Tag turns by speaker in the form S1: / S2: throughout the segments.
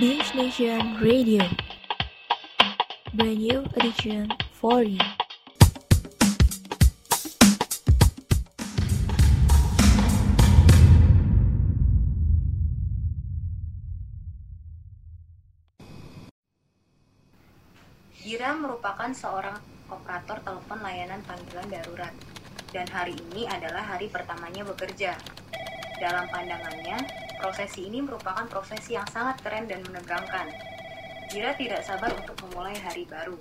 S1: Beach Nation Radio. Brand new edition for you.
S2: Gira merupakan seorang operator telepon layanan panggilan darurat dan hari ini adalah hari pertamanya bekerja. Dalam pandangannya, prosesi ini merupakan prosesi yang sangat keren dan menegangkan. Gira tidak sabar untuk memulai hari baru.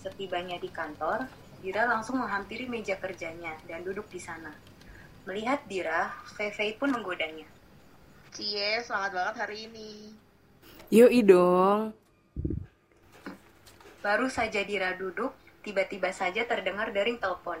S2: Setibanya di kantor, Gira langsung menghampiri meja kerjanya dan duduk di sana. Melihat Dira, Fei pun menggodanya.
S3: Cie, semangat banget hari ini.
S4: Yoi dong.
S2: Baru saja Dira duduk, tiba-tiba saja terdengar dering telepon.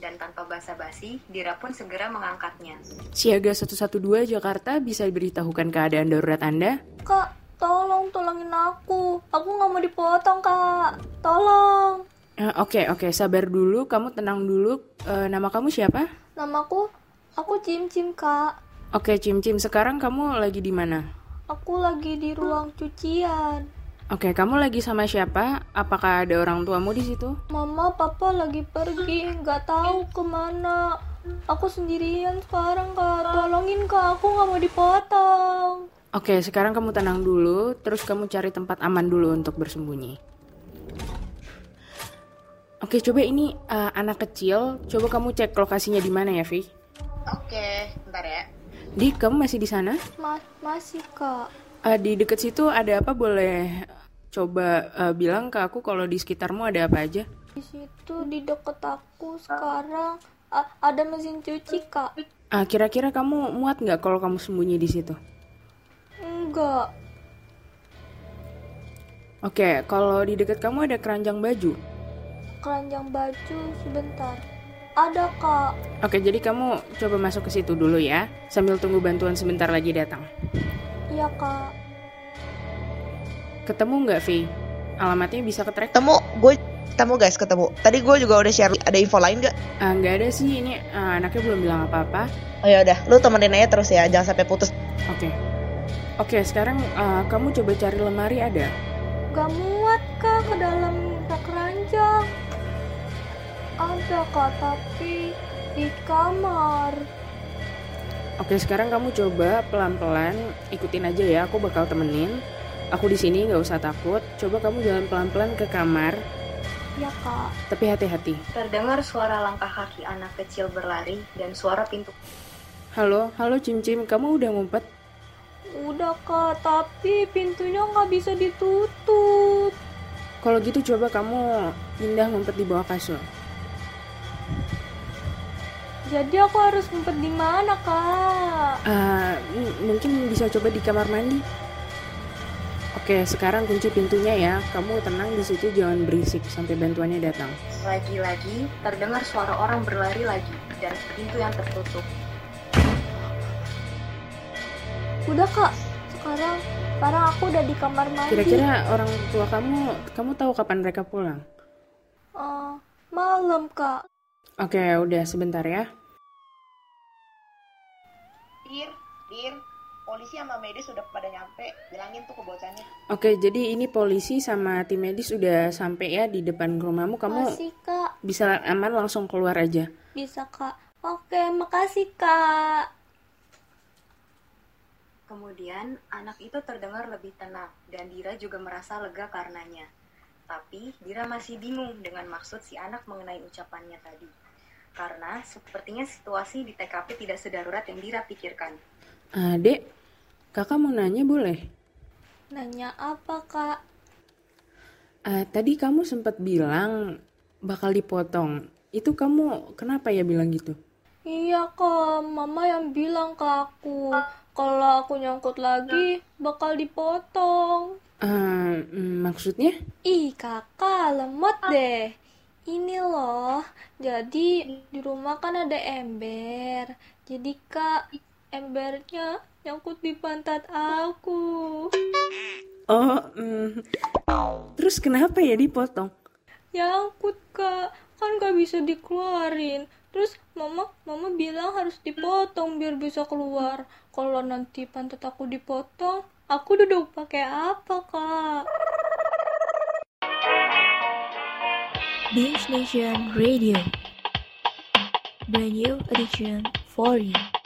S2: Dan tanpa basa-basi, Dira pun segera mengangkatnya.
S4: Siaga 112 Jakarta bisa diberitahukan keadaan darurat Anda.
S5: Kak, tolong tolongin aku. Aku nggak mau dipotong, Kak. Tolong.
S4: Eh, Oke, oke, sabar dulu, kamu tenang dulu. Eh, nama kamu siapa?
S5: Namaku, aku Cim Cim, Kak.
S4: Oke, Cim Cim, sekarang kamu lagi di mana?
S5: Aku lagi di ruang cucian.
S4: Oke, kamu lagi sama siapa? Apakah ada orang tuamu di situ?
S5: Mama, papa lagi pergi, nggak tahu kemana. Aku sendirian sekarang, Kak. Tolongin, Kak. Aku nggak mau dipotong.
S4: Oke, sekarang kamu tenang dulu, terus kamu cari tempat aman dulu untuk bersembunyi. Oke, coba ini eh, anak kecil, coba kamu cek lokasinya di mana ya, Vi?
S3: Oke, bentar ya.
S4: Di, kamu masih di sana?
S5: Ma- masih, Kak.
S4: Eh, di deket situ ada apa boleh coba eh, bilang ke aku kalau di sekitarmu ada apa aja?
S5: Di situ, di deket aku sekarang a- ada mesin cuci, Kak.
S4: Ah, kira-kira kamu muat nggak kalau kamu sembunyi di situ?
S5: Enggak.
S4: Oke, kalau di deket kamu ada keranjang baju.
S5: Keranjang baju sebentar. Ada, Kak.
S4: Oke, jadi kamu coba masuk ke situ dulu ya, sambil tunggu bantuan sebentar lagi datang.
S5: Iya, Kak.
S4: Ketemu nggak, Vi? Alamatnya bisa Eh, ke track?
S3: Ketemu, gue ketemu guys, ketemu. Tadi gue juga udah share, ada info lain gak?
S4: Ah, nggak ada sih, ini ah, anaknya belum bilang apa-apa.
S3: Oh ya udah, lu temenin aja terus ya, jangan sampai putus.
S4: Oke. Oke, sekarang ah, kamu coba cari lemari ada.
S5: Gak muat, Kak, ke dalam rak keranjang. Ada, Kak, tapi di kamar.
S4: Oke, sekarang kamu coba pelan-pelan ikutin aja ya. Aku bakal temenin. Aku di sini nggak usah takut. Coba kamu jalan pelan-pelan ke kamar,
S5: Iya, Kak.
S4: tapi hati-hati.
S2: Terdengar suara langkah kaki anak kecil berlari dan suara pintu.
S4: Halo, halo Cim Cim, kamu udah ngumpet?
S5: Udah, Kak, tapi pintunya nggak bisa ditutup.
S4: Kalau gitu coba kamu pindah ngumpet di bawah kasur.
S5: Jadi aku harus ngumpet di mana, Kak?
S4: Ah, m- mungkin bisa coba di kamar mandi. Oke, sekarang kunci pintunya ya. Kamu tenang di situ, jangan berisik sampai bantuannya datang.
S2: Lagi-lagi terdengar suara orang berlari lagi dan pintu yang tertutup.
S5: Udah, Kak. Sekarang, sekarang aku udah di kamar mandi.
S4: Kira-kira orang tua kamu, kamu tahu kapan mereka pulang?
S5: Eh, malam, Kak.
S4: Oke, udah sebentar ya.
S3: Dir, Dir, polisi sama medis udah pada nyampe, bilangin tuh ke bocannya.
S4: Oke, jadi ini polisi sama tim medis udah sampai ya di depan rumahmu. Kamu
S5: Makasih, Kak.
S4: bisa aman langsung keluar aja.
S5: Bisa, Kak. Oke, makasih, Kak.
S2: Kemudian, anak itu terdengar lebih tenang dan Dira juga merasa lega karenanya. Tapi, Dira masih bingung dengan maksud si anak mengenai ucapannya tadi. Karena sepertinya situasi di TKP tidak sedarurat yang Dira pikirkan.
S4: Ah, Dek, kakak mau nanya boleh?
S5: Nanya apa, Kak?
S4: Ah, tadi kamu sempat bilang bakal dipotong. Itu kamu kenapa ya bilang gitu?
S5: Iya, Kak. Mama yang bilang ke aku. Kalau aku nyangkut lagi, bakal dipotong.
S4: Ah, mm, maksudnya?
S5: Ih, kakak, lemot deh. Ini loh, jadi di rumah kan ada ember. Jadi, Kak, embernya nyangkut di pantat aku.
S4: Oh, mm, terus kenapa ya dipotong?
S5: Nyangkut, Ya Kak. Kan gak bisa dikeluarin. Terus mama mama bilang harus dipotong biar bisa keluar. kalau nanti pantat aku dipotong, aku duduk pakai apa, Kak?
S1: Binge Nation Radio. Brand new edition for you.